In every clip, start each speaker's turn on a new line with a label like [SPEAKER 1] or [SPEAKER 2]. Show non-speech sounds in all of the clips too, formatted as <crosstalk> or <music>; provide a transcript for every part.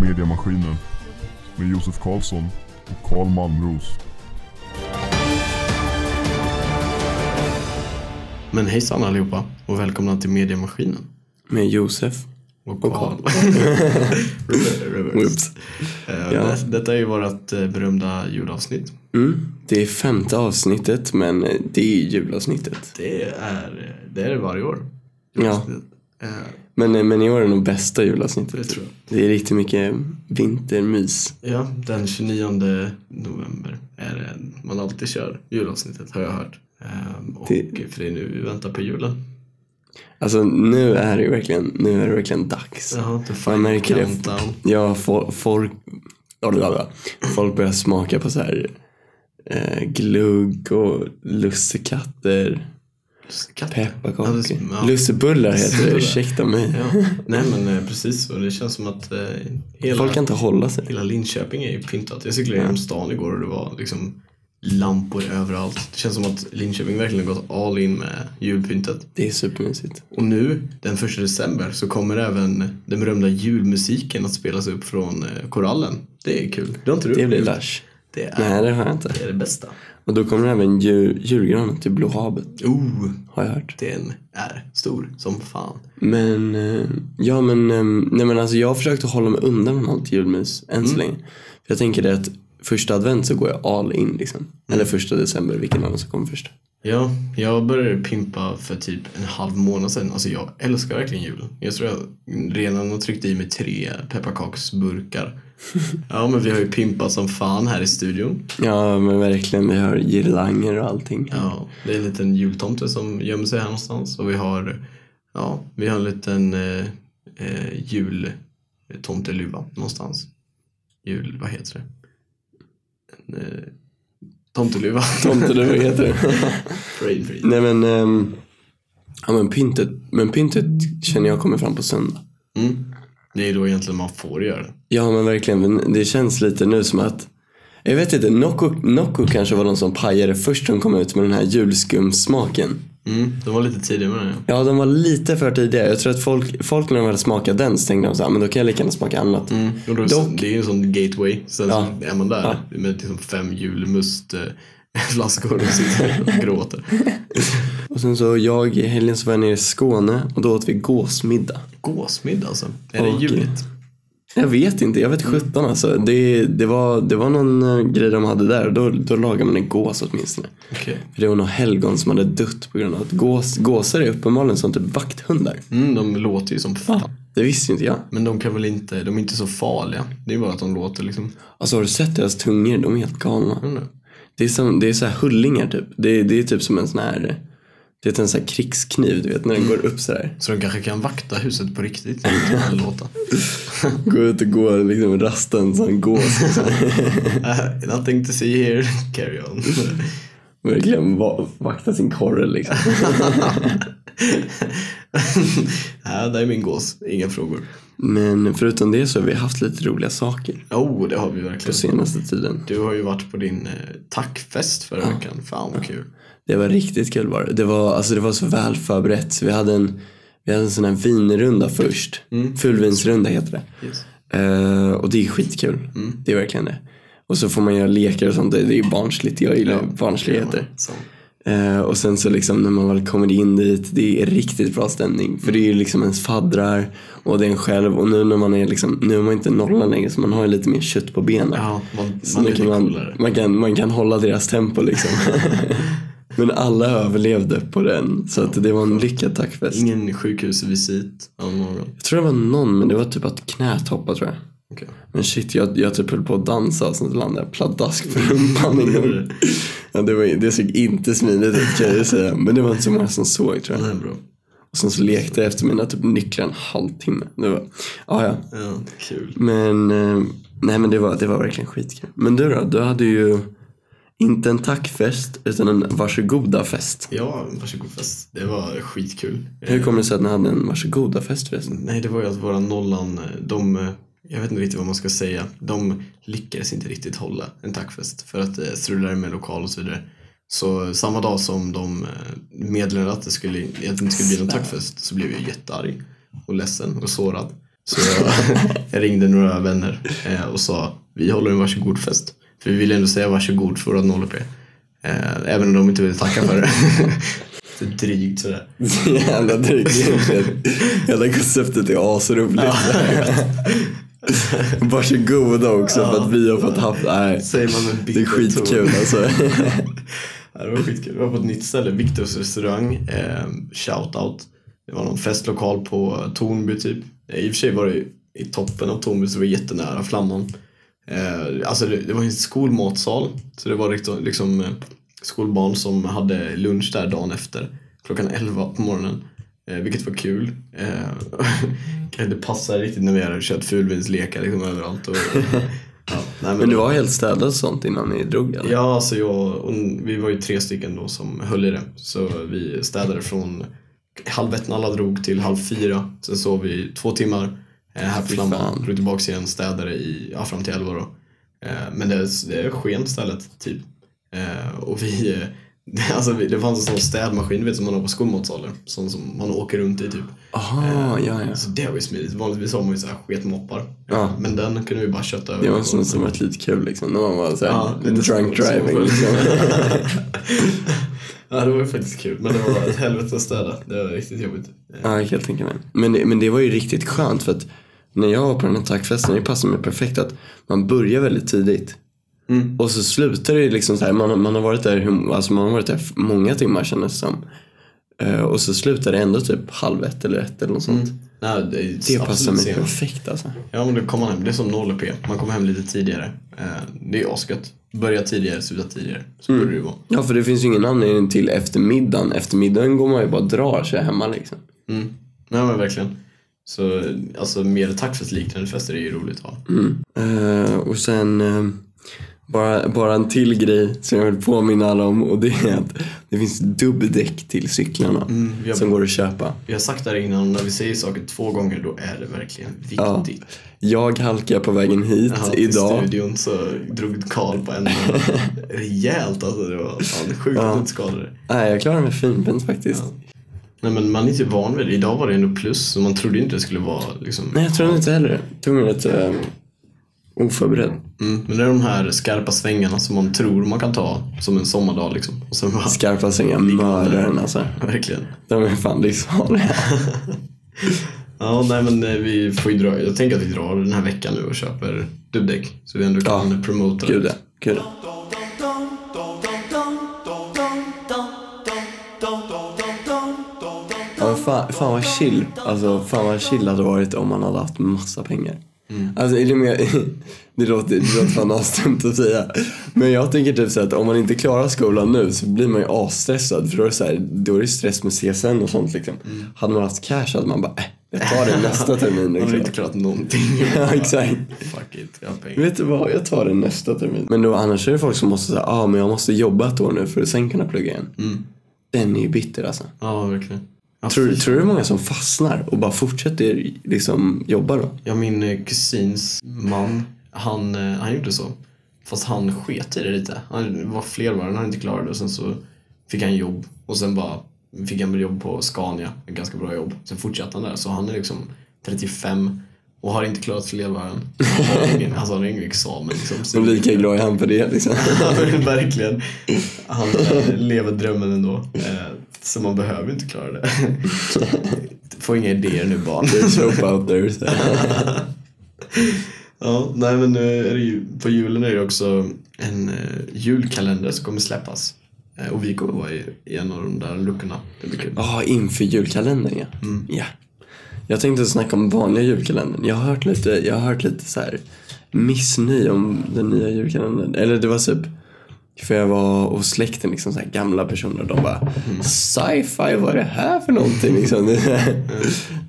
[SPEAKER 1] Mediamaskinen med Josef Karlsson och Karl Malmros.
[SPEAKER 2] Men hejsan allihopa och välkomna till Mediamaskinen.
[SPEAKER 3] Med Josef.
[SPEAKER 2] Och <laughs>
[SPEAKER 3] Och
[SPEAKER 2] Karl.
[SPEAKER 3] Karl.
[SPEAKER 2] Reverse.
[SPEAKER 3] Whoops.
[SPEAKER 2] Eh,
[SPEAKER 3] Ja.
[SPEAKER 2] det- Detta är ju vårt eh, berömda julavsnitt.
[SPEAKER 3] Mm. Det är femte avsnittet men eh, det är julavsnittet.
[SPEAKER 2] Det är det är det varje år.
[SPEAKER 3] Ja.
[SPEAKER 2] Eh,
[SPEAKER 3] Men, eh, men i år är det nog bästa julavsnittet.
[SPEAKER 2] Det tror
[SPEAKER 3] Det är riktigt mycket vintermys.
[SPEAKER 2] Ja, den 29 november är det man alltid kör julavsnittet har jag hört. Eh, Och
[SPEAKER 3] Det-
[SPEAKER 2] för det är nu vi väntar på julen.
[SPEAKER 3] Alltså nu är det ju verkligen, nu är det verkligen dags.
[SPEAKER 2] Jaha, the
[SPEAKER 3] Man
[SPEAKER 2] final
[SPEAKER 3] märker det.
[SPEAKER 2] countdown.
[SPEAKER 3] Ja, fo- folk, ja, det var bra. folk börjar smaka på så här eh, glugg och lussekatter,
[SPEAKER 2] Katt. Ja,
[SPEAKER 3] pepparkakor.
[SPEAKER 2] det- ja.
[SPEAKER 3] Lussebullar heter det,
[SPEAKER 2] Lussebullar.
[SPEAKER 3] ursäkta mig.
[SPEAKER 2] Ja. Nej men eh, precis så. Det känns som att eh, hela...
[SPEAKER 3] Folk kan inte hålla sig.
[SPEAKER 2] Hela Linköping är ju pyntat. Jag cyklade genom stan igår och det var liksom lampor överallt. Det känns som att Linköping verkligen har gått all in med julpyntet.
[SPEAKER 3] Det är supermysigt.
[SPEAKER 2] Och nu, den 1 december, så kommer även den berömda julmusiken att spelas upp från eh, Korallen. Det är kul. Det har inte du
[SPEAKER 3] Det blir
[SPEAKER 2] upplevt?
[SPEAKER 3] lash.
[SPEAKER 2] Det är,
[SPEAKER 3] Nej, det har jag inte.
[SPEAKER 2] det är det bästa.
[SPEAKER 3] Och då kommer även ju, julgranen till Blå havet,
[SPEAKER 2] Oh,
[SPEAKER 3] har jag hört.
[SPEAKER 2] den är stor som fan.
[SPEAKER 3] Men, eh, ja men, eh, nej men alltså jag har försökt att hålla mig undan från allt julmys än så länge. För jag tänker det att första advent så går jag all in liksom. Eller första december, vilken annan som kommer först.
[SPEAKER 2] Ja, jag började pimpa för typ en halv månad sedan. Alltså jag älskar verkligen jul. Jag tror jag redan har tryckt i mig tre pepparkaksburkar. Ja, men vi har ju pimpat som fan här i studion.
[SPEAKER 3] Ja men verkligen, vi har girlanger och allting.
[SPEAKER 2] Ja, det är en liten jultomte som gömmer sig här någonstans och vi har, ja, vi har en liten eh, eh, jultomteluva någonstans. Jul, vad heter det? En, eh, tomteluva.
[SPEAKER 3] Tomten eller vad heter det?
[SPEAKER 2] <laughs> Brain freeze.
[SPEAKER 3] nej men, ehm, ja men pyntet, men pyntet känner jag kommer fram på söndag.
[SPEAKER 2] Mm. Det är då egentligen man får göra det.
[SPEAKER 3] Ja men verkligen, men det känns lite nu som att jag vet inte, Nocco, Nocco kanske var de som pajade först som kom ut med den här julskumsmaken.
[SPEAKER 2] Mm, de var lite tidiga med det.
[SPEAKER 3] Ja, de var lite för tidiga. Jag tror att folk, folk när de hade smakat den så tänkte de så här, men då kan jag lika gärna smaka annat.
[SPEAKER 2] Och då,
[SPEAKER 3] Dock-
[SPEAKER 2] Det är ju en sån gateway. Sen så
[SPEAKER 3] Ja.
[SPEAKER 2] är man där
[SPEAKER 3] Ja.
[SPEAKER 2] med liksom fem <laughs> julmustflaskor och
[SPEAKER 3] <laughs>
[SPEAKER 2] sitter och gråter.
[SPEAKER 3] Och sen så jag i helgen så var jag nere i Skåne och då åt vi gåsmiddag.
[SPEAKER 2] Gåsmiddag alltså. Är det
[SPEAKER 3] Och-
[SPEAKER 2] juligt?
[SPEAKER 3] Jag vet inte, jag vet sjutton alltså. Det, det, var, det var någon eh, grej de hade där och då, då lagade man en gås åtminstone.
[SPEAKER 2] Okej.
[SPEAKER 3] För det var någon helgon som hade dött på grund av att gås, gåsar är uppenbarligen som typ vakthundar.
[SPEAKER 2] Mm, de låter ju som fan.
[SPEAKER 3] Det visste inte jag.
[SPEAKER 2] Men de kan väl inte, de är inte så farliga. Det är bara att de låter liksom.
[SPEAKER 3] Alltså har du sett deras tungor? De är helt galna.
[SPEAKER 2] Mm.
[SPEAKER 3] Det är, som, det är så här hullingar typ. Det, det är typ som en sån här, det är en sån här krigskniv du vet när den går upp så där.
[SPEAKER 2] Så de kanske kan vakta huset på riktigt. med de här
[SPEAKER 3] <laughs>
[SPEAKER 2] låta.
[SPEAKER 3] Gå ut och gå liksom rasta en sån gås. liksom.
[SPEAKER 2] Uh, nothing to see here. <laughs> Carry on.
[SPEAKER 3] Verkligen va- vakta sin korre liksom.
[SPEAKER 2] Nej, det är min gås. Inga frågor.
[SPEAKER 3] Men förutom det så har vi haft lite roliga saker
[SPEAKER 2] Oh, det har vi
[SPEAKER 3] på
[SPEAKER 2] verkligen.
[SPEAKER 3] senaste tiden.
[SPEAKER 2] Du har ju varit på din eh, tackfest förra veckan. Fan vad kul.
[SPEAKER 3] Det var riktigt kul var det. Det var, alltså, det var så väl förberett. Så vi hade en, vi hade en sån här vinrunda först. Fulvinsrunda heter det.
[SPEAKER 2] Mm. Yes. Mm.
[SPEAKER 3] Eh, och det är skitkul. Det är verkligen det. Och så får man göra lekar och sånt. Det det är ju barnsligt. Jag gillar barnsligheter.
[SPEAKER 2] Så.
[SPEAKER 3] Eh, och sen så liksom när man väl kommer in dit, det är riktigt bra stämning. För det
[SPEAKER 2] Mm.
[SPEAKER 3] är ju liksom ens faddrar och det är en själv. Och nu när man är liksom, nu är man inte nollan längre så man har ju lite mer kött på benen.
[SPEAKER 2] Ja, man,
[SPEAKER 3] så
[SPEAKER 2] man är
[SPEAKER 3] nu
[SPEAKER 2] lite
[SPEAKER 3] kan man,
[SPEAKER 2] coolare.
[SPEAKER 3] man, kan, man kan hålla deras tempo liksom. Men alla överlevde på den. Så att det var en lyckad tackfest.
[SPEAKER 2] Ingen sjukhusvisit av någon.
[SPEAKER 3] Jag tror det var någon, men det var typ att knät hoppade tror jag.
[SPEAKER 2] Okej.
[SPEAKER 3] Men shit, jag, jag typ höll på att dansa och sen landade jag pladask på rumpan. Inom. Ja, det, var, det såg inte smidigt ut kan jag ju säga. Men det var inte så många som såg tror jag.
[SPEAKER 2] Nej, bra.
[SPEAKER 3] Och sen så lekte jag efter mina typ nycklar en halvtimme. Det var, ja, ja.
[SPEAKER 2] Ja, kul.
[SPEAKER 3] Men, eh, nej men det var, det var verkligen skitkul. Men du då? Du hade ju inte en tackfest utan en varsågoda-fest.
[SPEAKER 2] Ja, varsågod fest. Det var skitkul.
[SPEAKER 3] <laughs> Hur kommer det sig att ni hade en varsågoda-fest förresten?
[SPEAKER 2] Nej, det var ju att våra nollan, eh, de eh, jag vet inte riktigt vad man ska säga. De lyckades inte riktigt hålla en tackfest för att det strulade med lokal och så vidare. Så samma dag som de eh, meddelade att det, skulle, att det inte skulle bli någon tackfest så blev jag jättearg och ledsen och sårad. Så jag, <laughs> jag ringde några vänner eh, och sa vi håller en varsågodfest. För vi ville ändå säga varsågod för att 0 eh, Även om de inte ville tacka för det. <laughs> Så drygt sådär.
[SPEAKER 3] Jävla dryg egentligen. Hela konceptet är asroligt. <laughs> Varsågoda också för att vi har fått haft, nej.
[SPEAKER 2] Säger man med
[SPEAKER 3] Det är
[SPEAKER 2] bitter
[SPEAKER 3] skitkul
[SPEAKER 2] ton.
[SPEAKER 3] alltså.
[SPEAKER 2] Ja, det var skitkul. Vi var på ett nytt ställe, Viktors restaurang. Eh, Shoutout. Det var någon festlokal på Tornby typ. Eh, I och för sig var det ju i toppen av Tornby så det var jättenära Flamman. Eh, alltså det, det var en skolmatsal. Så det var liksom, liksom eh, skolbarn som hade lunch där dagen efter. Klockan 11 på morgonen. Eh, vilket var kul. Eh, <laughs> kanske inte passar riktigt när vi hade kört fulvinslekar liksom överallt.
[SPEAKER 3] <laughs>
[SPEAKER 2] Och, ja, nej,
[SPEAKER 3] <laughs> Men du var helt städad och sånt innan ni drog eller?
[SPEAKER 2] Ja, alltså jag och vi var ju tre stycken då som höll i det. Så vi städade från halv ett när alla drog till halv fyra. Sen sov vi två timmar eh, här på
[SPEAKER 3] Fy
[SPEAKER 2] Flamman.
[SPEAKER 3] fan.
[SPEAKER 2] Drog tillbaka igen, städade i, ja, fram till elva då. Eh, men det, det sken stället typ. Eh, och vi, eh, <laughs> det, alltså, vi, det fanns en sån städmaskin du vet, som man har på skolmatsaler. Sån som man åker runt i typ.
[SPEAKER 3] Aha, ja ja.
[SPEAKER 2] Så det var ju smidigt. Vanligtvis har man ju så här sketmoppar.
[SPEAKER 3] Ja.
[SPEAKER 2] Men den kunde vi bara kötta över.
[SPEAKER 3] Det var en
[SPEAKER 2] Och-
[SPEAKER 3] sån som var lite kul liksom. När man var såhär
[SPEAKER 2] Ja, lite
[SPEAKER 3] drunk
[SPEAKER 2] Mm. så- så-
[SPEAKER 3] driving <laughs> liksom.
[SPEAKER 2] Ja, det var ju faktiskt kul. Men det var ett helvete att städa. Det var riktigt jobbigt. Eh,
[SPEAKER 3] Ja, jag kan tänka mig. Men det, men det var ju riktigt skönt för att när jag var på den här tackfesten, det passade mig perfekt att man börjar väldigt tidigt.
[SPEAKER 2] Mm.
[SPEAKER 3] Och så slutar det ju liksom så här, man, har- man har varit där, hur- alltså man har varit där f- många timmar kändes det som. Eh, och så slutar det ändå typ halv ett eller ett eller något sånt.
[SPEAKER 2] Nej, det är
[SPEAKER 3] Det
[SPEAKER 2] Mm. absolut
[SPEAKER 3] passar mig
[SPEAKER 2] senast.
[SPEAKER 3] perfekt alltså.
[SPEAKER 2] Ja, men då kommer man hem. Det är som 0 p. Man kommer hem lite tidigare. Eh, Det är asgött. Börja tidigare, sluta tidigare. Så
[SPEAKER 3] Mm.
[SPEAKER 2] borde det ju vara.
[SPEAKER 3] Ja, för det finns ju ingen anledning till eftermiddagen. Eftermiddagen går man ju bara och drar sig hemma liksom.
[SPEAKER 2] Mm. Nej, men verkligen. Så eh, alltså, mer tackfestliknande fester är ju roligt att ha.
[SPEAKER 3] Eh, och sen eh, bara, bara en till grej som jag vill påminna alla om och det är att det finns dubbdäck till cyklarna
[SPEAKER 2] vi har-
[SPEAKER 3] som går att köpa.
[SPEAKER 2] Vi har sagt det här innan, när vi säger saker två gånger då är det verkligen
[SPEAKER 3] Ja.
[SPEAKER 2] viktigt.
[SPEAKER 3] Jag halkade på vägen hit
[SPEAKER 2] Ja, till
[SPEAKER 3] idag.
[SPEAKER 2] studion så drog Karl på en eh, rejält alltså. Det var fan, sjukt att
[SPEAKER 3] Ja.
[SPEAKER 2] du inte skadade dig.
[SPEAKER 3] Nej, jag klarade mig finbent faktiskt.
[SPEAKER 2] Nej men man är inte van vid det. Idag var det ändå plus så man trodde inte det skulle vara liksom.
[SPEAKER 3] Nej, jag tror inte heller det. Tog mig lite eh, oförberedd.
[SPEAKER 2] Mm, men det är de här skarpa svängarna som man tror man kan ta som en sommardag liksom. Och sen bara, <laughs>
[SPEAKER 3] Skarpa sängar, mördaren alltså.
[SPEAKER 2] verkligen.
[SPEAKER 3] De är fan livsfarliga.
[SPEAKER 2] Ja, nej men eh, vi får ju dra. Jag tänker att vi drar den här veckan nu och köper dubbdäck. Så vi ändå kan
[SPEAKER 3] Ja.
[SPEAKER 2] promota det.
[SPEAKER 3] Gud ja, gud ja. Ja, men fan, fan vad chill. Alltså, fan vad chill det hade varit om man hade haft massa pengar. Alltså, är det, mer, <laughs> det, låter, det låter fan asdumt att säga. Men jag tänker typ så här att om man inte klarar skolan nu så blir man ju asstressad. För då är det, så här, då är det stress med CSN och sånt liksom. Hade man haft cash hade man bara, äh, jag tar det nästa termin.
[SPEAKER 2] Man har
[SPEAKER 3] Liksom.
[SPEAKER 2] inte klarat någonting.
[SPEAKER 3] <laughs> Ja, exakt.
[SPEAKER 2] Fuck it, jag har pengar.
[SPEAKER 3] Vet du vad, jag tar det nästa termin. Men då annars är det folk som måste säga, ah, men jag måste jobba ett år nu för att sen kunna plugga igen. Den är ju bitter alltså.
[SPEAKER 2] Ja, verkligen. Ja,
[SPEAKER 3] Tror, tror du det är många som fastnar och bara fortsätter liksom jobba då?
[SPEAKER 2] Ja, min eh, kusins man, han, eh, han gjorde så. Fast han sket i det lite. Han det var fler varv, han inte klarade det. och sen så fick han jobb och sen bara fick han jobb på Scania, ett ganska bra jobb. Sen fortsatte han där, så han är liksom 35 och har inte klarat fler varv än. Han har ingen- Alltså han har ingen examen liksom. Så
[SPEAKER 3] Och lika glad är han för det liksom.
[SPEAKER 2] <laughs> verkligen. Han eh, lever drömmen ändå. Eh, Så man behöver inte klara det. <laughs> Få inga idéer nu barn.
[SPEAKER 3] There's hope out there. Så.
[SPEAKER 2] Ja, nej men nu är det ju, på julen är det också en eh, julkalender som kommer släppas. Eh, och vi kommer vara i, i en av de där luckorna. Det blir kul.
[SPEAKER 3] Ja, inför julkalendern ja. ja. Jag tänkte snacka om vanliga julkalendern. Jag har hört lite, jag har hört lite så här missnöje om den nya julkalendern. Eller det var typ, för jag var hos släkten, liksom så här gamla personer och de bara Sci-fi, vad är det här för någonting? Liksom, <laughs> det,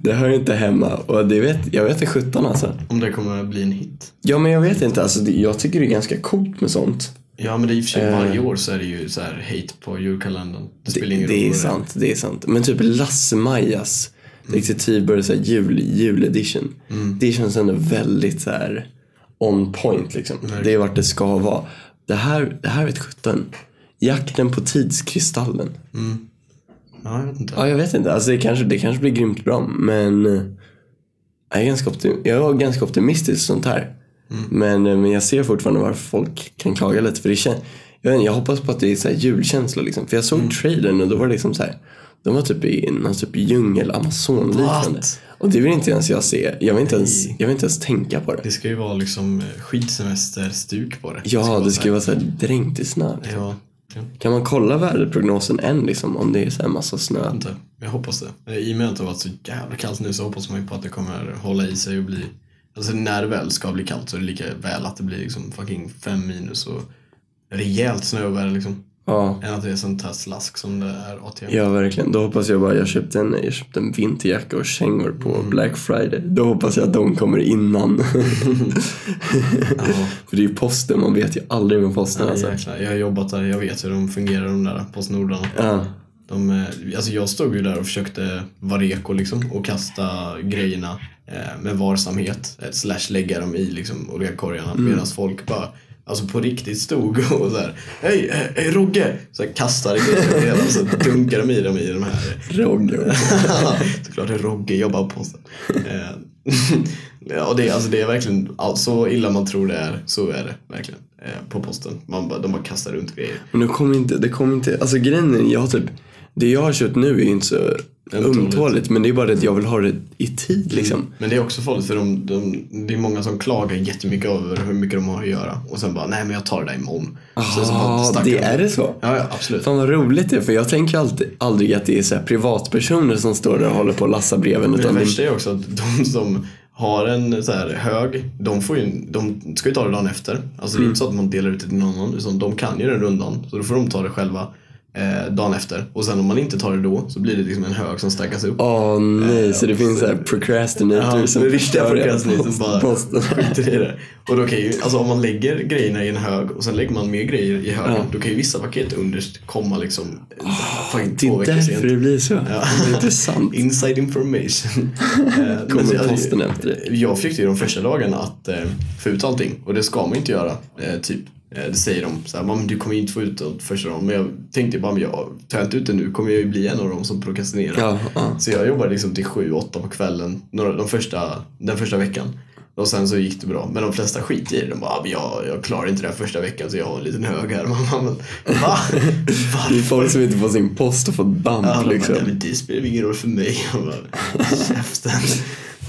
[SPEAKER 3] det hör ju inte hemma. Och det vet, jag vet inte sjutton alltså.
[SPEAKER 2] Om det kommer att bli en hit.
[SPEAKER 3] Ja men jag vet inte, alltså, det, jag tycker det är ganska coolt med sånt.
[SPEAKER 2] Ja men det är i och för sig
[SPEAKER 3] Eh.
[SPEAKER 2] varje år så är det ju så här hate på julkalendern. Det Mm. spelar
[SPEAKER 3] Det,
[SPEAKER 2] ingen roll.
[SPEAKER 3] det är
[SPEAKER 2] vad
[SPEAKER 3] sant, det är sant. Men typ Lasse-Majas Detektiv började säga jul, juledition.
[SPEAKER 2] Mm.
[SPEAKER 3] Det känns ändå väldigt så här on point liksom. Det är vart det ska vara. Det här, det här vet sjutton. Jakten på tidskristallen.
[SPEAKER 2] Ja, jag vet inte.
[SPEAKER 3] Ja, jag vet inte. Alltså, det, kanske, det kanske blir grymt bra, men eh, jag är ganska, optim- jag är ganska optimistisk för sånt här.
[SPEAKER 2] Mm.
[SPEAKER 3] Men, eh, men jag ser fortfarande varför folk kan klaga lite. För det kän- jag, vet inte, jag hoppas på att det är så här julkänsla. Liksom. För jag
[SPEAKER 2] Mm.
[SPEAKER 3] såg trailern och då var det liksom så här. De var typ i någon typ djungel, Amazon-liknande.
[SPEAKER 2] What?
[SPEAKER 3] Och det vill inte ens jag se. Jag vill inte, ens,
[SPEAKER 2] Nej.
[SPEAKER 3] jag vill inte ens tänka på det.
[SPEAKER 2] Det ska ju vara liksom eh, skidsemesterstuk på det.
[SPEAKER 3] Ja, det ska ju
[SPEAKER 2] så
[SPEAKER 3] vara så här dränkt i snö.
[SPEAKER 2] här-
[SPEAKER 3] Liksom.
[SPEAKER 2] Ja, jag vet
[SPEAKER 3] Kan man kolla väderprognosen än liksom, om det är så här massa snö?
[SPEAKER 2] inte. Jag hoppas det. Eh, I och med att det har varit så jävla kallt nu så hoppas man ju på att det kommer hålla i sig och bli... Alltså när det väl ska bli kallt så är det lika väl att det blir liksom fucking fem minus och rejält snöoväder liksom.
[SPEAKER 3] Ja.
[SPEAKER 2] Än att det är sånt här slask som det är ATM.
[SPEAKER 3] Ja, verkligen. Då hoppas jag bara, jag köpte en, jag köpte en vinterjacka och kängor på Black Friday. Då hoppas jag att de kommer innan. <laughs>
[SPEAKER 2] Ja.
[SPEAKER 3] För det är ju posten, man vet ju aldrig med posten alltså.
[SPEAKER 2] Jäklar, jag har jobbat där, jag vet hur de fungerar de där Postnordarna.
[SPEAKER 3] Ja,
[SPEAKER 2] De, eh, alltså jag stod ju där och försökte vara reko liksom och kasta grejerna eh, med varsamhet. eh, Slash lägga dem i liksom oljekorgarna medan folk bara Alltså på riktigt stod <laughs> och så här, hej, eh, hej Rogge! Så här, kastade grejer över hela och så dunkade de i dem i de här <laughs>
[SPEAKER 3] Roger.
[SPEAKER 2] Såklart är Rogge jobbar på posten. Eh, <laughs> ja, det, är- alltså, det är verkligen all- så illa man tror det är, så är det verkligen eh, på posten. Man bara, de bara kastar runt grejer.
[SPEAKER 3] Men det kommer inte, det kommer inte, alltså grejen är, jag har typ, det jag har köpt nu är ju inte så ömtåligt. Men det är bara det att jag vill ha det i tid liksom.
[SPEAKER 2] Men det är också farligt för de, de, det är många som klagar jättemycket över hur mycket de har att göra och sen bara nej men jag tar det där imorgon. Sen så bara
[SPEAKER 3] Ja,
[SPEAKER 2] stackar
[SPEAKER 3] Ah, det
[SPEAKER 2] de.
[SPEAKER 3] är det så?
[SPEAKER 2] Ja, ja absolut.
[SPEAKER 3] Fan vad roligt det är, för jag tänker alltid, aldrig att det är så här privatpersoner som står där och håller på och lassar breven.
[SPEAKER 2] Men
[SPEAKER 3] Utan
[SPEAKER 2] det
[SPEAKER 3] det,
[SPEAKER 2] värsta är också att de som har en så här hög, de, får ju, de ska ju ta det dagen efter. Alltså
[SPEAKER 3] Mm.
[SPEAKER 2] det är inte så att man delar ut det till någon annan, utan de kan ju den rundan. Så då får de ta det själva eh, dagen efter. Och sen om man inte tar det då så blir det liksom en hög som stackas upp.
[SPEAKER 3] Åh nej, så det finns så här procrastinators
[SPEAKER 2] Ja,
[SPEAKER 3] som
[SPEAKER 2] som riktiga
[SPEAKER 3] förstör
[SPEAKER 2] podcastnit som
[SPEAKER 3] post-
[SPEAKER 2] bara <laughs>
[SPEAKER 3] posten.
[SPEAKER 2] skiter i det. Och då kan ju, alltså om man lägger grejerna i en hög och sen lägger man mer grejer i högen,
[SPEAKER 3] Ja. Ah,
[SPEAKER 2] då kan ju vissa paket underst komma liksom oh, fan,
[SPEAKER 3] Det
[SPEAKER 2] två
[SPEAKER 3] är
[SPEAKER 2] veckor
[SPEAKER 3] därför det
[SPEAKER 2] sent.
[SPEAKER 3] blir så. Det är intressant.
[SPEAKER 2] Inside information.
[SPEAKER 3] <laughs>
[SPEAKER 2] Eh, men så-
[SPEAKER 3] Kommer
[SPEAKER 2] alltså,
[SPEAKER 3] posten efter dig.
[SPEAKER 2] Jag försökte ju de första dagarna att eh, få ut allting och det ska man inte göra. Eh, typ. Eh, det säger de. Så här, "Men du kommer ju inte få ut allt första dagen. Men jag tänkte ju bara, men jag, tar jag inte ut det nu kommer jag ju bli en av dem som prokrastinerar.
[SPEAKER 3] Ja, ja.
[SPEAKER 2] Så jag jobbade liksom till sju, åtta på kvällen några, de första, den första veckan. Och sen så gick det bra. Men de flesta skiter i det. De bara, "Ah, men jag, jag klarar inte det här första veckan så jag har en liten hög här. <laughs> Man bara, men
[SPEAKER 3] <laughs>
[SPEAKER 2] va?
[SPEAKER 3] Det
[SPEAKER 2] Varför?
[SPEAKER 3] är folk som inte får sin post och får damp
[SPEAKER 2] Ja, de
[SPEAKER 3] liksom.
[SPEAKER 2] bara, "Nej, men det spelar ingen roll för mig. Jag bara, käften.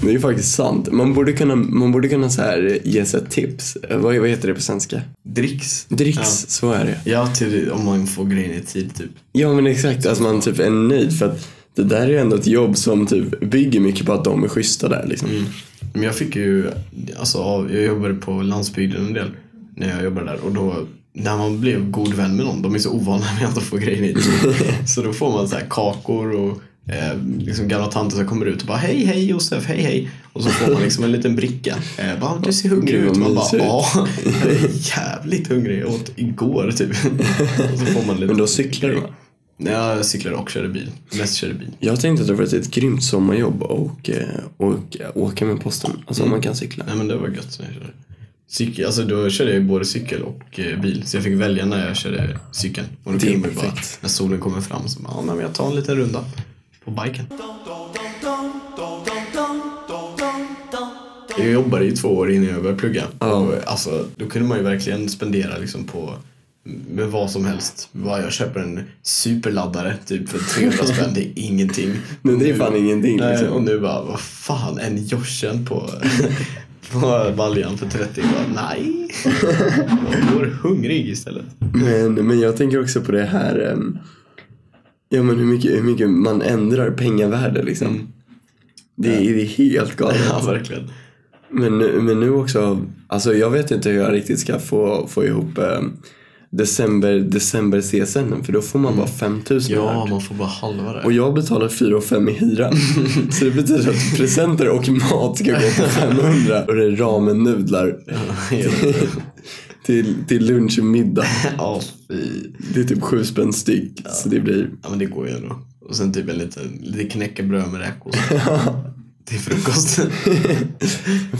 [SPEAKER 3] Det är ju faktiskt sant. Man borde kunna, man borde kunna så här ge sig ett tips. Eh, Vad, vad heter det på svenska?
[SPEAKER 2] Dricks.
[SPEAKER 3] Dricks, så är det.
[SPEAKER 2] Ja, till, om man får grejen i tid typ.
[SPEAKER 3] Ja men exakt, att man typ är nöjd för att det där är ju ändå ett jobb som typ bygger mycket på att de är schyssta där liksom.
[SPEAKER 2] Mm. Men jag fick ju, alltså av, jag jobbade på landsbygden en del när jag jobbade där och då när man blev god vän med någon, de är så ovana med att de får grejer
[SPEAKER 3] <laughs>
[SPEAKER 2] hit. Så då får man så här kakor och eh, liksom gamla tanter som kommer ut och bara hej hej Josef, hej hej. Och så får man liksom en liten bricka. Eh, bara, du ser hungrig
[SPEAKER 3] Gud,
[SPEAKER 2] ut.
[SPEAKER 3] vad
[SPEAKER 2] Man bara
[SPEAKER 3] mysigt.
[SPEAKER 2] ja, jag är jävligt hungrig. Jag åt igår
[SPEAKER 3] <laughs>
[SPEAKER 2] typ. Och så får man lite
[SPEAKER 3] Men då cyklar du va?
[SPEAKER 2] Ja, jag cyklade och körde bil. Mest körde bil.
[SPEAKER 3] Jag tänkte att det var ett grymt sommarjobb och, eh, och åka med posten. Alltså
[SPEAKER 2] Mm.
[SPEAKER 3] om man kan cykla.
[SPEAKER 2] Nej men det var gött när jag körde. Cykel, alltså då körde jag ju både cykel och eh, bil. Så jag fick välja när jag körde cykeln. Och då
[SPEAKER 3] Det är
[SPEAKER 2] kunde man ju bara,
[SPEAKER 3] perfekt.
[SPEAKER 2] när solen kommer fram så bara, ja nej, men jag tar en liten runda på biken. Jag jobbade i två år innan jag började plugga. Och, eh, alltså, då kunde man ju verkligen spendera liksom på med vad som helst. Bara jag köper en superladdare typ för 300 spänn, det är ingenting.
[SPEAKER 3] Men det är fan ingenting
[SPEAKER 2] Nej,
[SPEAKER 3] liksom.
[SPEAKER 2] och nu bara, vad fan, en Jorsen
[SPEAKER 3] <laughs>
[SPEAKER 2] på, på baljan för 30 bara,
[SPEAKER 3] <laughs>
[SPEAKER 2] nej. Jag går hungrig istället.
[SPEAKER 3] Men, men jag tänker också på det här em, Ja men hur mycket, hur mycket man ändrar pengavärde liksom. Det, är, det är helt galet.
[SPEAKER 2] Mm. Ja, verkligen.
[SPEAKER 3] Men, nu- men nu också, alltså jag vet inte hur jag riktigt ska få, få ihop em, december, december CSN för då får man bara 5000
[SPEAKER 2] Mm. Ja, man får bara halva det. <laughs>
[SPEAKER 3] Och jag betalar 4 5 i hyra. Så det betyder att presenter och mat ska gå på 500. Och det är ramen-nudlar <laughs> till, till
[SPEAKER 2] <laughs>
[SPEAKER 3] lunch och middag.
[SPEAKER 2] Ja, fy.
[SPEAKER 3] Det är typ sju spänn styck. Så det blir
[SPEAKER 2] Ja, men det går ju ändå. Och sen typ en liten, lite knäckebröd med
[SPEAKER 3] <laughs>
[SPEAKER 2] räkor till frukosten.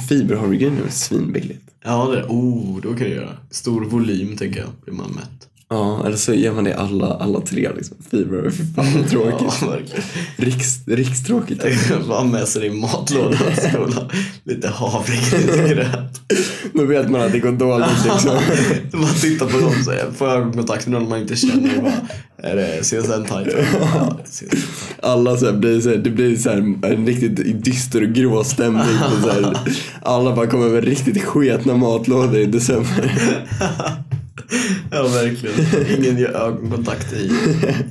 [SPEAKER 3] Fiberhavregryn är väl svinbilligt.
[SPEAKER 2] Ja, det oh, då kan du göra. Stor volym tänker jag, blir man
[SPEAKER 3] <laughs>
[SPEAKER 2] mätt.
[SPEAKER 3] Ja, eller så gör man det alla, alla tre liksom. Fiber, fy fan vad tråkigt.
[SPEAKER 2] Ja, verkligen.
[SPEAKER 3] Riks, rikstråkigt.
[SPEAKER 2] Bara ha med sig det i matlådan till skolan. Lite
[SPEAKER 3] <laughs>
[SPEAKER 2] havregrynsgröt.
[SPEAKER 3] Då vet man att det går dåligt liksom.
[SPEAKER 2] <laughs> Man tittar på dem så här, får ögonkontakt med någon man inte känner och bara, är det CSN-tajt? Ja, CSN.
[SPEAKER 3] Alla så här blir så här, det blir så här en riktigt dyster och grå stämning. På så här. Alla bara kommer med riktigt sketna matlådor i december.
[SPEAKER 2] Ja, verkligen. Ingen gör ögonkontakt i,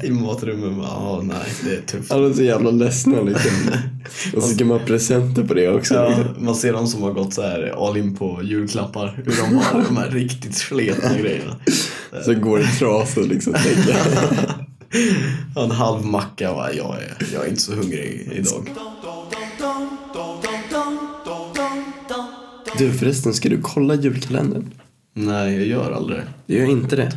[SPEAKER 2] i matrummet. Bara, Ja, nej, det är tufft.
[SPEAKER 3] Alla är så jävla ledsna liksom. Och så ska man ha presenter på det också.
[SPEAKER 2] Ja,
[SPEAKER 3] liksom.
[SPEAKER 2] man ser de som har gått så här all in på julklappar, hur de har de här riktigt sletna <laughs> grejerna.
[SPEAKER 3] Så går det trasor liksom. tänker jag.
[SPEAKER 2] Ja, En halv macka och bara, jag är, jag är inte så hungrig idag.
[SPEAKER 3] Du förresten, ska du kolla julkalendern?
[SPEAKER 2] Nej, jag gör aldrig det.
[SPEAKER 3] Jag gör inte det.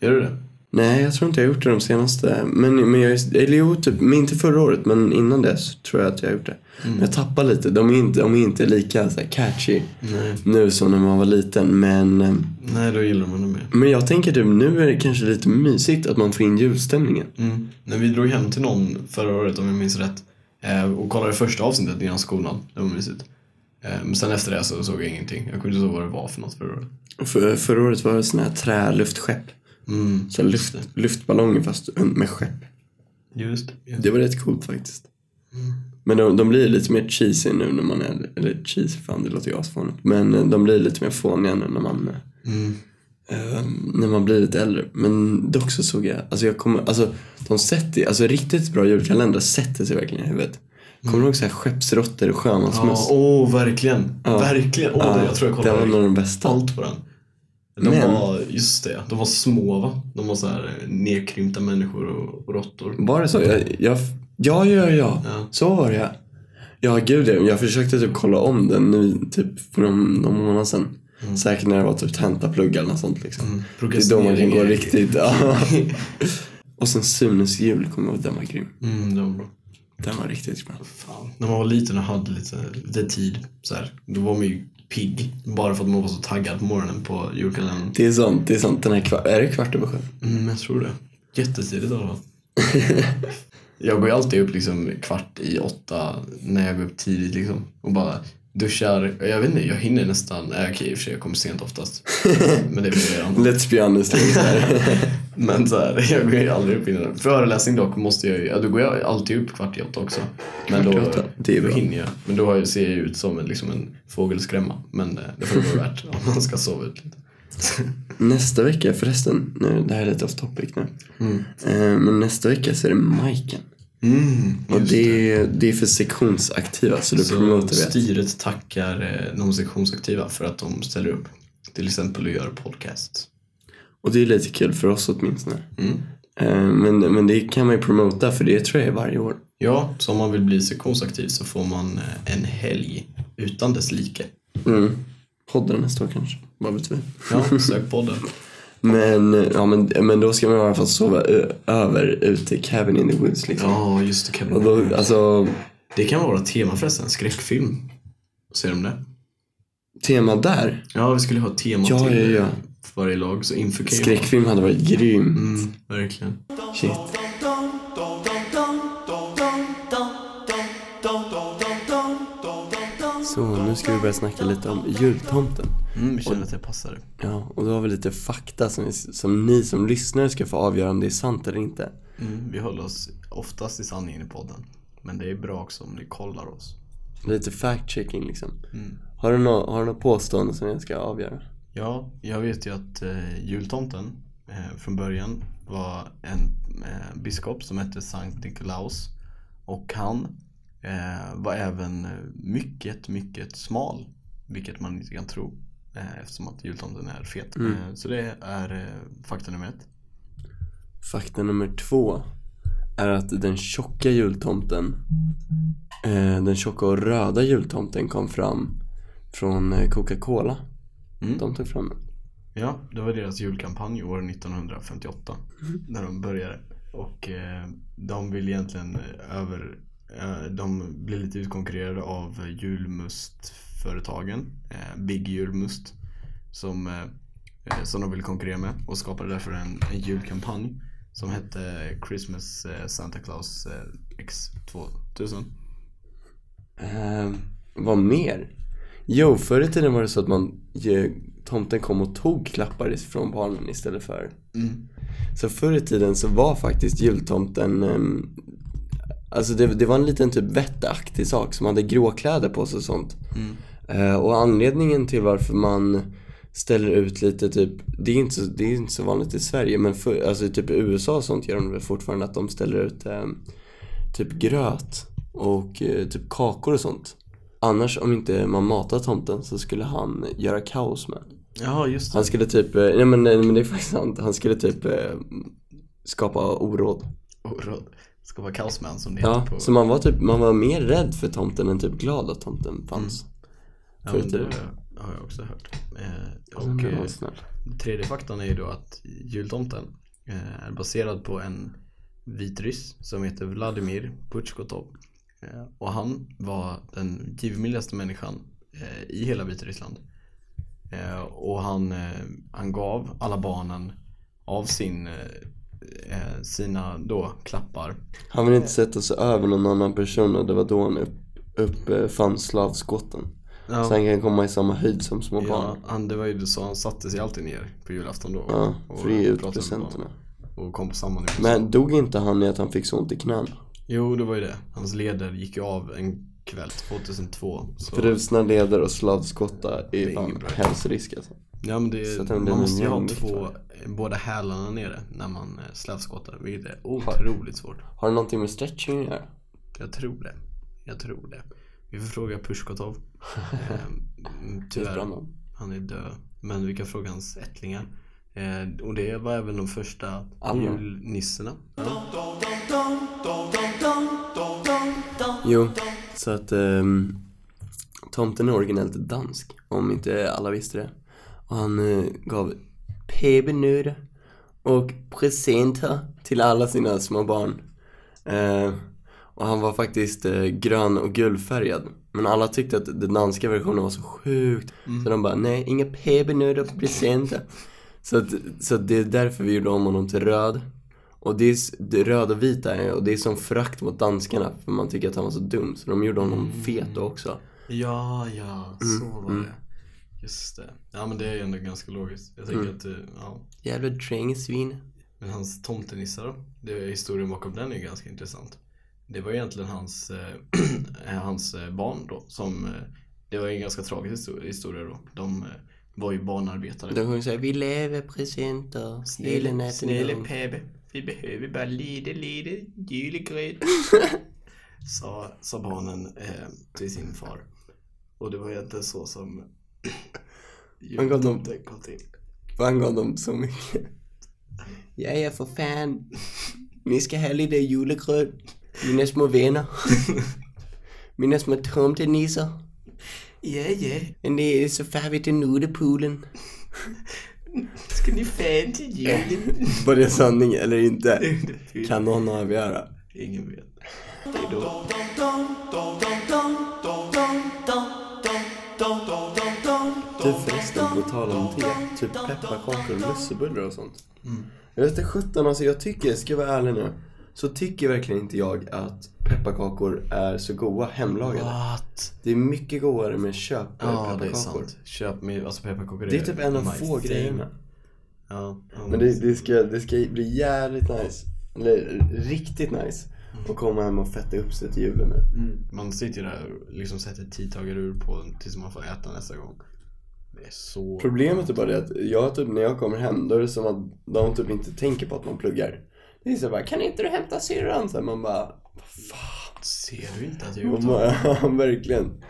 [SPEAKER 2] Gör du det?
[SPEAKER 3] Nej, jag tror inte jag har gjort det de senaste. Men, men jag, eller jo, typ, men inte förra året, men innan dess tror jag att jag har gjort det. Men Jag tappar lite. De är inte, de är inte lika så här, catchy
[SPEAKER 2] Nej.
[SPEAKER 3] nu som när man var liten. Men, eh,
[SPEAKER 2] Nej, då gillar man det mer.
[SPEAKER 3] men jag tänker typ nu är det kanske lite mysigt att man får in julstämningen.
[SPEAKER 2] Mm. När vi drog hem till någon förra året, om jag minns rätt, eh, och kollade första avsnittet innan skolan, det var mysigt. Eh, Men sen efter det så såg jag ingenting. Jag kunde inte ihåg vad det var för något förra året.
[SPEAKER 3] För, förra året var det sådana här träluftskepp.
[SPEAKER 2] Mm.
[SPEAKER 3] Så här luft, luftballonger fast med skepp.
[SPEAKER 2] Just det.
[SPEAKER 3] Det var rätt coolt faktiskt.
[SPEAKER 2] Mm.
[SPEAKER 3] Men de, de blir lite mer cheesy nu när man är, eller cheesy fan det låter ju asfånigt. Men eh, de blir lite mer fåniga nu när man, eh,
[SPEAKER 2] Mm.
[SPEAKER 3] eh, när man blir lite äldre. Men dock så såg jag, alltså jag kommer, alltså de sätter, alltså riktigt bra julkalendrar sätter sig verkligen i huvudet. Kommer du ihåg såhär skeppsråttor och sjömansmöss?
[SPEAKER 2] Mm. Ja, åh, verkligen.
[SPEAKER 3] Ja.
[SPEAKER 2] Verkligen. Åh, det- jag tror jag
[SPEAKER 3] det var
[SPEAKER 2] kollade
[SPEAKER 3] nog de bästa.
[SPEAKER 2] allt på den. De
[SPEAKER 3] Men-
[SPEAKER 2] var, just det, de var små va? De var så här eh, nedkrympta människor och, och råttor.
[SPEAKER 3] Var det så? Jag, jag, ja, ja, ja,
[SPEAKER 2] Ja.
[SPEAKER 3] Så var det ja. Ja, gud ja. Jag försökte typ kolla om den nu typ för någon, någon månad sedan. Säkert när det var typ tentaplugg eller något sånt liksom. Det är då man kan gå riktigt. <laughs> Ja. Och sen Sunes jul kommer jag ihåg. Den var grym.
[SPEAKER 2] Mm, det var bra.
[SPEAKER 3] Den var riktigt bra.
[SPEAKER 2] Fan. När man var liten och hade lite, lite tid så här, då var man ju pigg. Bara för att man var så taggad på morgonen på julkalendern.
[SPEAKER 3] Det är sånt. Det är sånt. Den här kvar, är det kvart över sju?
[SPEAKER 2] Mm, jag tror det. Jättetidigt i alla fall. <laughs> jag går ju alltid upp liksom kvart i åtta när jag går upp tidigt liksom. Och bara duschar. Jag vet inte, jag hinner nästan. Nej okej i och för sig, jag kommer sent <laughs> oftast. Men det blir redan.
[SPEAKER 3] Let's be <laughs> honest. liksom.
[SPEAKER 2] Men så här, <laughs> jag går ju aldrig upp innan. Föreläsning dock måste jag ju, ja då går jag alltid upp kvart i åtta också. Men
[SPEAKER 3] Kvart i
[SPEAKER 2] då,
[SPEAKER 3] åtta, det är
[SPEAKER 2] då
[SPEAKER 3] bra.
[SPEAKER 2] hinner jag. Men då har jag, ser jag ut som en, liksom en fågelskrämma. Men eh, det får det vara värt <laughs> om man ska sova ut lite.
[SPEAKER 3] Nästa vecka förresten. Nu, det här är lite off topic nu. Eh, men nästa vecka så är det Majken. Och
[SPEAKER 2] Just
[SPEAKER 3] Mm. det, är- det är för sektionsaktiva så du
[SPEAKER 2] Så
[SPEAKER 3] promotar vi.
[SPEAKER 2] styret tackar eh, de sektionsaktiva för att de ställer upp. Till exempel och gör podcast.
[SPEAKER 3] Och det är lite kul för oss åtminstone.
[SPEAKER 2] Mm.
[SPEAKER 3] Eh, men, men det kan man ju promota för det tror jag är varje år.
[SPEAKER 2] Ja, så om man vill bli sektionsaktiv så får man eh, en helg utan dess like.
[SPEAKER 3] Mm. Podden nästa år kanske. Vad vet vi? <laughs>
[SPEAKER 2] Ja, sök podden.
[SPEAKER 3] Men, eh, ja, men, men då ska man i alla fall sova ö- över ute i Cabin in the Woods. Liksom.
[SPEAKER 2] Ja, just det.
[SPEAKER 3] Och
[SPEAKER 2] Kan
[SPEAKER 3] då, alltså,
[SPEAKER 2] Det kan vara vårt tema förresten, skräckfilm. Ser du om det?
[SPEAKER 3] tema där,
[SPEAKER 2] Ja, vi skulle ha ett tema
[SPEAKER 3] Ja,
[SPEAKER 2] till
[SPEAKER 3] ja, ja.
[SPEAKER 2] eh, varje lag, så inför kan ju-
[SPEAKER 3] skräckfilm hade varit grym.
[SPEAKER 2] Mm, verkligen.
[SPEAKER 3] Shit. Så, nu ska vi börja snacka lite om jultomten.
[SPEAKER 2] Mm, vi känner att det passar.
[SPEAKER 3] Ja, och då har vi lite fakta som, vi, som ni som lyssnare ska få avgöra om det är sant eller inte.
[SPEAKER 2] Mm, vi håller oss oftast i sanningen i podden. Men det är bra också om ni kollar oss.
[SPEAKER 3] Lite fact-checking liksom. Har du något har du nå påstående som jag ska avgöra?
[SPEAKER 2] Ja, jag vet ju att eh, jultomten eh, från början var en eh, biskop som hette Sankt Nikolaus. Och han eh, var även eh, mycket, mycket smal. Vilket man inte kan tro eh, eftersom att jultomten är fet. Eh, så det är eh, fakta nummer ett.
[SPEAKER 3] Fakta nummer två är att den tjocka jultomten, eh, den tjocka och röda jultomten kom fram från eh, Coca-Cola.
[SPEAKER 2] Mm.
[SPEAKER 3] De tog fram den.
[SPEAKER 2] Ja, det var deras julkampanj år 1958 när de började. Och eh, de vill egentligen över... Eh, de blir lite utkonkurrerade av julmustföretagen. Eh, Big Julmust. Som, eh, som de vill konkurrera med och skapade därför en, en julkampanj. Som hette Christmas eh, Santa Claus eh, X2000.
[SPEAKER 3] Ehm, vad mer? Jo, förr i tiden var det så att man ge, tomten kom och tog klappar från barnen istället för.
[SPEAKER 2] Mm.
[SPEAKER 3] Så förr i tiden så var faktiskt jultomten ehm, Alltså det, det var en liten typ vetteaktig sak som hade gråkläder på sig och sånt. Eh, och anledningen till varför man ställer ut lite typ, det är inte så, det är inte så vanligt i Sverige men för, alltså typ i USA och sånt gör de väl fortfarande att de ställer ut eh, typ gröt och eh, typ kakor och sånt. Annars om inte man matar tomten så skulle han göra kaos med.
[SPEAKER 2] Ja, just det.
[SPEAKER 3] Han skulle typ, eh, nej men, nej, men det är faktiskt sant, han skulle typ eh, skapa oråd.
[SPEAKER 2] Orad. Ska vara kaosman som det
[SPEAKER 3] Ja,
[SPEAKER 2] heter på...
[SPEAKER 3] så man var typ, man var mer rädd för tomten än typ glad att tomten fanns.
[SPEAKER 2] Mm. ja,
[SPEAKER 3] typ- förr i
[SPEAKER 2] men
[SPEAKER 3] tiden.
[SPEAKER 2] det har jag också hört. Eh,
[SPEAKER 3] Men
[SPEAKER 2] och,
[SPEAKER 3] den
[SPEAKER 2] eh,
[SPEAKER 3] var snäll.
[SPEAKER 2] Tredje faktan är ju då att jultomten eh, är baserad på en vitryss som heter Vladimir Butjkotov. Eh, Och han var den givmildaste människan eh, i hela Vitryssland. Eh, Och han, eh, han gav alla barnen av sin, eh, eh, sina då klappar.
[SPEAKER 3] Han ville inte sätta sig över någon annan person och det var då han upp, uppfann slavskotten.
[SPEAKER 2] Ja.
[SPEAKER 3] Så han kan komma i samma höjd som små
[SPEAKER 2] Ja,
[SPEAKER 3] barn.
[SPEAKER 2] han, det var ju så han satte sig alltid ner på julafton då.
[SPEAKER 3] Ja,
[SPEAKER 2] och
[SPEAKER 3] för det är ju
[SPEAKER 2] pratade med
[SPEAKER 3] utpresenterna.
[SPEAKER 2] barnen Och kom på samma nivå.
[SPEAKER 3] Men dog inte han i att han fick så ont i knäna?
[SPEAKER 2] Jo, det var ju det. Hans leder gick ju av en kväll 2002. Så,
[SPEAKER 3] Frusna leder och slavskotta är
[SPEAKER 2] är
[SPEAKER 3] fan
[SPEAKER 2] ingen bra.
[SPEAKER 3] hälsorisk alltså.
[SPEAKER 2] ja, men det,
[SPEAKER 3] så att han blev
[SPEAKER 2] man måste ju
[SPEAKER 3] en
[SPEAKER 2] ha
[SPEAKER 3] jämvikt,
[SPEAKER 2] två,
[SPEAKER 3] va?
[SPEAKER 2] båda hälarna nere när man eh, slavskottar, vilket är otroligt svårt.
[SPEAKER 3] Har det någonting med stretching att göra?
[SPEAKER 2] Jag tror det. Jag tror det. Vi får fråga
[SPEAKER 3] <laughs>
[SPEAKER 2] Pushkotov. Ehm,
[SPEAKER 3] Det är ett bra
[SPEAKER 2] Tyvärr,
[SPEAKER 3] namn.
[SPEAKER 2] han är död. Men vi kan fråga hans ättlingar. Eh, och det var även de första
[SPEAKER 3] Alla.
[SPEAKER 2] julnisserna.
[SPEAKER 3] Jo, så att ehm, tomten är originellt dansk, om inte alla visste det. Och han eh, gav pebenur och presenter till alla sina små barn. Eh, och han var faktiskt eh, grön och gulfärgad. Men alla tyckte att den danska versionen var så sjukt. Så de bara, nej, inga pebenur och presenter. Så, att, så att det är därför vi gjorde om honom till röd. Och det är, s- det röd och vit är och det är som förakt mot danskarna för man tycker att han var så dum så de gjorde honom fet också.
[SPEAKER 2] Ja, ja, så
[SPEAKER 3] Mm,
[SPEAKER 2] var det. Just det. Ja, men det är ju ändå ganska logiskt. Jag
[SPEAKER 3] Mm.
[SPEAKER 2] tänker att, eh, ja.
[SPEAKER 3] Jävla drängsvin.
[SPEAKER 2] Men hans tomtenissar då? Det, historien bakom den är ju ganska intressant. Det var egentligen hans, eh, <clears throat> hans eh, barn då som, eh, det var ju en ganska tragisk histor- historia då. De eh, var ju barnarbetare.
[SPEAKER 3] De sjunger såhär, vi lever presenter, hela
[SPEAKER 2] Snälla,
[SPEAKER 3] natten
[SPEAKER 2] snälla
[SPEAKER 3] lång."
[SPEAKER 2] Pebe, vi behöver bara lite, lite
[SPEAKER 3] <laughs>
[SPEAKER 2] julegröt. sa, sa barnen eh, till sin far. Och det var ju inte så som
[SPEAKER 3] <clears throat> Han gav dem-
[SPEAKER 2] jultomten kom till.
[SPEAKER 3] Fan gav dem så mycket. Ja, ja för fan. Ni ska ha lite julegröt. Mina små <laughs> vänner. Mina små tomtenissar.
[SPEAKER 2] Ja, ja,
[SPEAKER 3] Men det är så färdigt i nudepoolen.
[SPEAKER 2] ska ni fan till julen?
[SPEAKER 3] Var det sanning eller inte?
[SPEAKER 2] <laughs> Det är-
[SPEAKER 3] Kan någon avgöra?
[SPEAKER 2] Ingen vet. Hejdå.
[SPEAKER 3] Du Typ förresten, på tal om te, typ pepparkakor och lussebullar och sånt.
[SPEAKER 2] Mm.
[SPEAKER 3] Jag vet inte sjutton, alltså jag tycker, ska jag vara ärlig nu, så tycker verkligen inte jag att pepparkakor är så goda hemlagade.
[SPEAKER 2] What?
[SPEAKER 3] Det är mycket godare med köp
[SPEAKER 2] Ja, Ah. det är
[SPEAKER 3] pepparkakor.
[SPEAKER 2] sant. Köp med, alltså pepparkakor
[SPEAKER 3] Det är typ en av
[SPEAKER 2] my
[SPEAKER 3] få
[SPEAKER 2] thing. Mm.
[SPEAKER 3] grejerna.
[SPEAKER 2] Ja, ja,
[SPEAKER 3] Men det, det, ska, det ska bli jävligt nice, eller riktigt nice,
[SPEAKER 2] Mm.
[SPEAKER 3] att komma hem och fetta upp sig till julen nu.
[SPEAKER 2] Man sitter ju där och liksom sätter tidtagar ur på den tills man får äta nästa gång. Det är så...
[SPEAKER 3] Problemet är bara det att jag typ, när jag kommer hem då är det som att de typ inte tänker på att man pluggar. Det är så bara, kan inte du hämta syrran? Så här, man bara, vad fan?
[SPEAKER 2] Ser du inte att jag
[SPEAKER 3] Och
[SPEAKER 2] gjort
[SPEAKER 3] man, <laughs> ja, verkligen.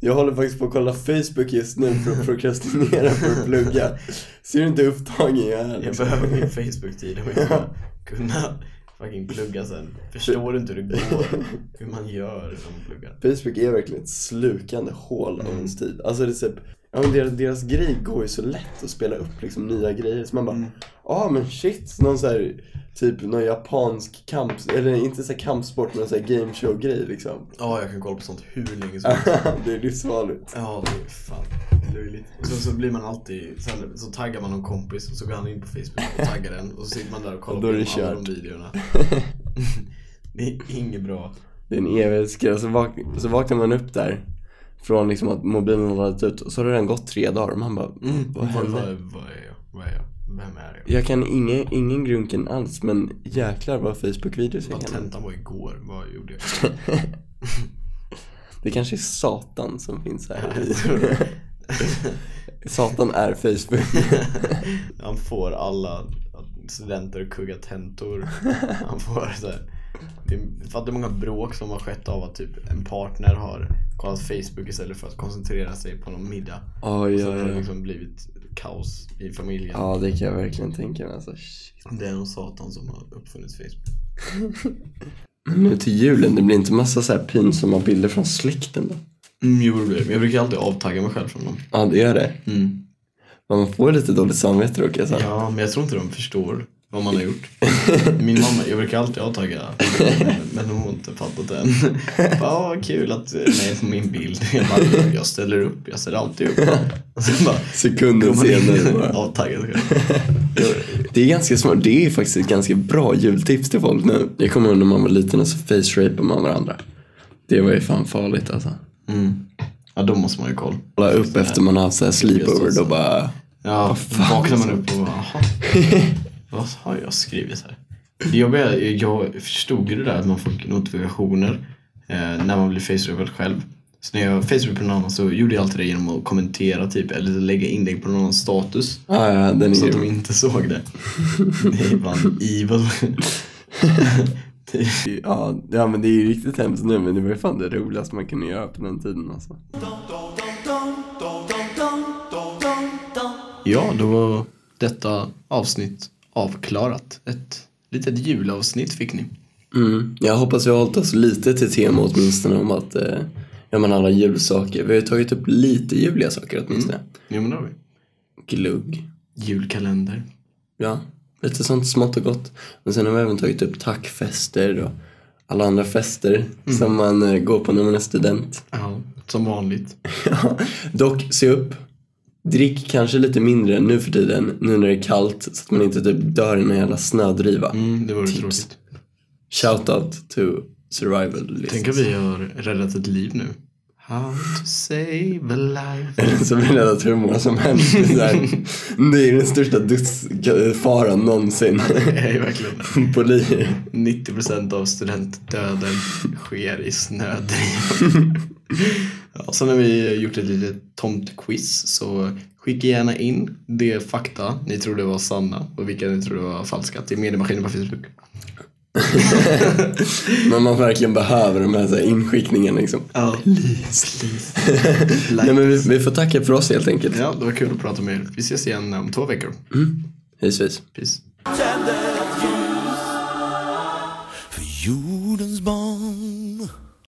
[SPEAKER 3] Jag håller faktiskt på att kolla Facebook just nu för att prokrastinera för att plugga. Ser du inte hur upptagen jag är?
[SPEAKER 2] Jag
[SPEAKER 3] liksom?
[SPEAKER 2] behöver min Facebook-tid om jag ska kunna fucking plugga sen. Förstår du inte hur det går? Hur man gör när man pluggar?
[SPEAKER 3] Mm. Facebook är verkligen ett slukande hål av ens tid. Alltså det är typ, Ja, men deras, deras grej går ju så lätt att spela upp liksom nya grejer. Så man bara,
[SPEAKER 2] Mm.
[SPEAKER 3] ja ah, men shit, någon så här, typ någon japansk kamp, eller inte så här kampsport men en sån här game show grej liksom. <laughs>
[SPEAKER 2] Ja, jag kan kolla på sånt hur länge <laughs> som helst.
[SPEAKER 3] det är livsfarligt.
[SPEAKER 2] Ja, det är fan löjligt. Och sen så blir man alltid, så, här, så taggar man någon kompis och så går han in på Facebook och taggar den och så sitter man där och kollar
[SPEAKER 3] Och då är det
[SPEAKER 2] på alla
[SPEAKER 3] kört.
[SPEAKER 2] de videorna. <laughs> det är inget bra.
[SPEAKER 3] Det är en evighetsgrej. Så, vak- så vaknar man upp där från liksom att mobilen har laddat ut och så har det redan gått tre dagar och man bara, Mm. vad
[SPEAKER 2] Vad,
[SPEAKER 3] hände?
[SPEAKER 2] vad, vad är jag? Vad är jag? Vem är jag?
[SPEAKER 3] Jag kan ingen, ingen grunken alls men jäklar vad Facebook-videos jag
[SPEAKER 2] Vad
[SPEAKER 3] kan.
[SPEAKER 2] tentan var igår, vad gjorde
[SPEAKER 3] <laughs>
[SPEAKER 2] jag?
[SPEAKER 3] Det kanske är Satan som finns här.
[SPEAKER 2] <laughs>
[SPEAKER 3] Satan är Facebook.
[SPEAKER 2] Han får alla studenter att kugga tentor. Han får så här. Det är, fattar hur många bråk som har skett av att typ en partner har kollat Facebook istället för att koncentrera sig på någon middag.
[SPEAKER 3] <laughs> Oj,
[SPEAKER 2] Så har
[SPEAKER 3] oj,
[SPEAKER 2] det
[SPEAKER 3] oj.
[SPEAKER 2] liksom blivit kaos i familjen.
[SPEAKER 3] Ja, det kan jag verkligen tänka mig. Alltså, shit.
[SPEAKER 2] Det är nog Satan som har uppfunnit Facebook.
[SPEAKER 3] nu till julen, det blir inte massa så här pinsamma bilder från släkten då?
[SPEAKER 2] Mm, jo, det blir det. Men Jag brukar alltid avtagga mig själv från dem.
[SPEAKER 3] Ja, det gör det. Men man får lite dåligt samvete dock. Alltså.
[SPEAKER 2] Ja, men jag tror inte de förstår vad man har gjort. Min mamma, jag brukar alltid avtagga, men hon har inte fattat än. Bara, "Åh, vad kul att du är med på min bild. Jag, bara, jag ställer upp, jag ställer alltid upp. Och sen bara,
[SPEAKER 3] Sekunden
[SPEAKER 2] går man
[SPEAKER 3] senare
[SPEAKER 2] in
[SPEAKER 3] bara.
[SPEAKER 2] och avtaggar sig
[SPEAKER 3] Det är ganska smart. Det är faktiskt ett ganska bra jultips till folk nu. Jag kommer ihåg när man var liten och så face-rapade man varandra. Det var ju fan farligt alltså.
[SPEAKER 2] mm. Ja, då måste man ju ha koll.
[SPEAKER 3] Kolla upp efter man har haft så här sleepover då bara...
[SPEAKER 2] Ja,
[SPEAKER 3] fan,
[SPEAKER 2] vaknar man
[SPEAKER 3] liksom.
[SPEAKER 2] upp och bara, "Jaha, vad har jag skrivit här? Det jobbiga, är- jag förstod ju det där att man får notifikationer eh, när man blir Facebookad själv. Så när jag Facebookade på någon annan så gjorde jag alltid det genom att kommentera typ eller lägga inlägg på någon annans status.
[SPEAKER 3] Ja, "Ah, ja, den är
[SPEAKER 2] Så att de
[SPEAKER 3] grym.
[SPEAKER 2] inte såg det. <laughs> Det är ibland evil.
[SPEAKER 3] Ja, ja, men det är ju riktigt hemskt nu men det var ju fan det roligaste man kunde göra på den tiden alltså.
[SPEAKER 2] Ja, då var detta avsnitt avklarat. Ett litet julavsnitt fick ni.
[SPEAKER 3] Mm. Jag hoppas vi har hållit oss lite till tema åtminstone om att eh, ja, men alla julsaker. Vi har ju tagit upp lite juliga saker åtminstone.
[SPEAKER 2] Jo, men det har vi.
[SPEAKER 3] Mm. Glugg.
[SPEAKER 2] Julkalender.
[SPEAKER 3] Ja, lite sånt smått och gott. Men sen har vi även tagit upp tackfester och alla andra fester som man eh, går på när man är student.
[SPEAKER 2] Ja, som vanligt.
[SPEAKER 3] <laughs> Dock, se upp. Drick kanske lite mindre nu för tiden, nu när det är kallt, så att man inte typ dör i någon jävla snödriva.
[SPEAKER 2] Mm, det vore
[SPEAKER 3] Tips.
[SPEAKER 2] tråkigt.
[SPEAKER 3] Shoutout to survival list.
[SPEAKER 2] Tänk att vi har räddat ett liv nu. How to save a <laughs> life.
[SPEAKER 3] <laughs> Så blir det att hur många som helst. Det är så här, Det är den största dödsfaran någonsin. <laughs>
[SPEAKER 2] Det är ju verkligen det.
[SPEAKER 3] Poli.
[SPEAKER 2] 90% av studentdöden sker i snödriv. <laughs> Ja, sen har vi gjort ett litet tomtquiz så skicka gärna in de fakta ni trodde var sanna och vilka ni trodde var falska till mediemaskinen på Facebook.
[SPEAKER 3] När man verkligen behöver de här, så här inskickningarna liksom.
[SPEAKER 2] Ja, please. <laughs> please.
[SPEAKER 3] Nej,
[SPEAKER 2] Like.
[SPEAKER 3] men vi, vi får tacka för oss helt enkelt.
[SPEAKER 2] Ja, det var kul att prata med er. Vi ses igen om två veckor.
[SPEAKER 3] Hejs, hejs.
[SPEAKER 2] Peace.
[SPEAKER 4] För jordens barn